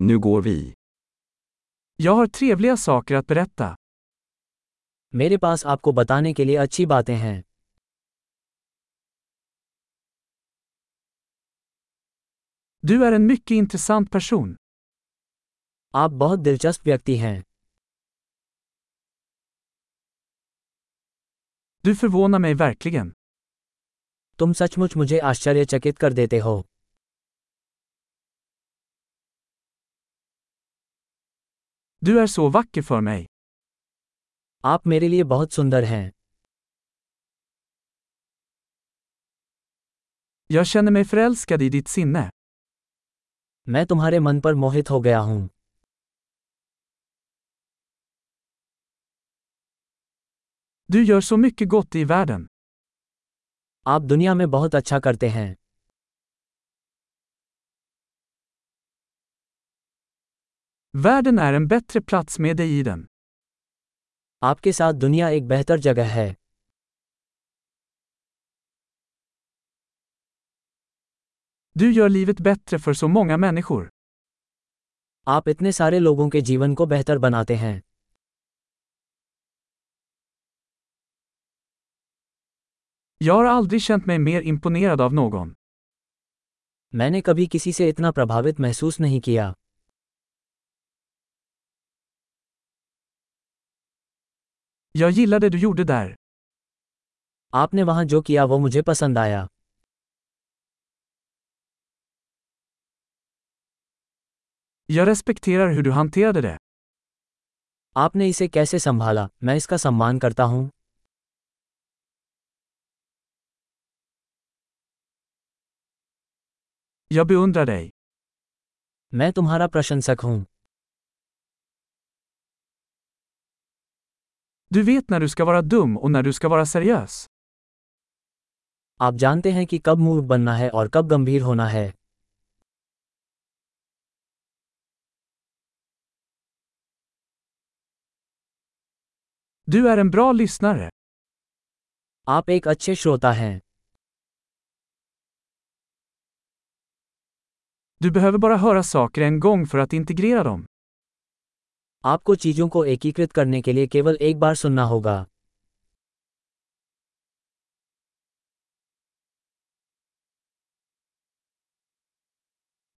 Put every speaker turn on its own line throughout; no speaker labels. Nu går vi.
Jag har trevliga saker att berätta.
मेरे पास आपको बताने के लिए अच्छी बातें हैं
Du är en mycket intressant person.
आप बहुत दिलचस्प व्यक्ति हैं
Du förvånar mig verkligen.
तुम सचमुच मुझे आश्चर्यचकित कर देते हो
Du är så vacker för mig.
आप मेरे लिए बहुत सुंदर हैं
Jag känner mig förälskad i ditt sinne.
मैं तुम्हारे मन पर मोहित हो गया हूँ
Du gör så mycket gott i världen.
आप दुनिया में बहुत अच्छा करते हैं
Världen är en bättre plats med dig i den.
आपके साथ दुनिया एक बेहतर जगह है
Du gör livet bättre för så många människor.
आप इतने सारे लोगों के जीवन को बेहतर बनाते हैं
Jag har aldrig känt mig mer imponerad av någon.
मैंने कभी किसी से इतना प्रभावित महसूस नहीं किया
Jag gillar det du gjorde där.
आपने वहाँ जो किया वो मुझे पसंद आया
Jag respekterar hur du hanterade det.
आपने इसे कैसे संभाला मैं इसका सम्मान करता हूँ
Jag beundrar dig.
मैं तुम्हारा प्रशंसक हूँ
Du vet när du ska vara dum och när du ska vara seriös.
आप जानते हैं कि कब मूर्ख बनना है और कब गंभीर होना है
Du är en bra lyssnare.
आप एक अच्छे श्रोता हैं
Du behöver bara höra saker en gång för att integrera dem.
आपको चीजों को एकीकृत करने के लिए केवल एक बार सुनना होगा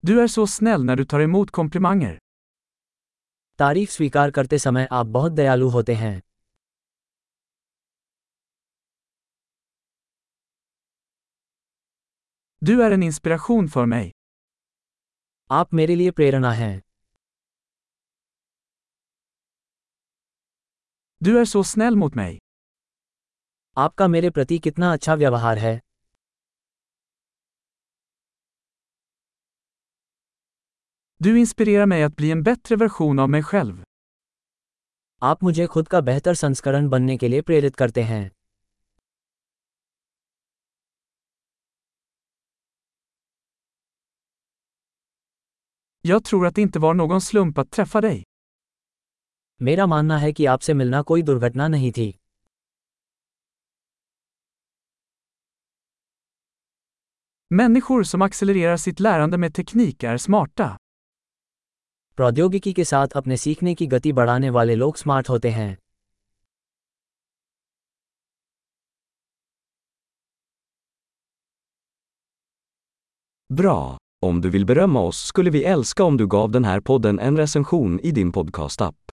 Du är så snäll när du tar emot komplimanger.
तारीफ स्वीकार करते समय आप बहुत दयालु होते हैं
Du är en inspiration för mig.
आप मेरे लिए प्रेरणा हैं
Du är så snäll mot mig.
आपका मेरे प्रति कितना अच्छा व्यवहार है
Du inspirerar mig att bli en bättre version av mig själv.
आप मुझे खुद का बेहतर संस्करण बनने के लिए प्रेरित करते हैं
Jag tror att det inte var någon slump att träffa dig.
मेरा मानना है कि आपसे मिलना कोई दुर्घटना नहीं थी
Människor som accelererar sitt lärande med teknik är smarta.
प्रौद्योगिकी के साथ अपने सीखने की गति बढ़ाने वाले लोग स्मार्ट होते हैं
Bra! Om du vill berömma oss skulle vi älska om du gav den här podden en recension i din podcastapp.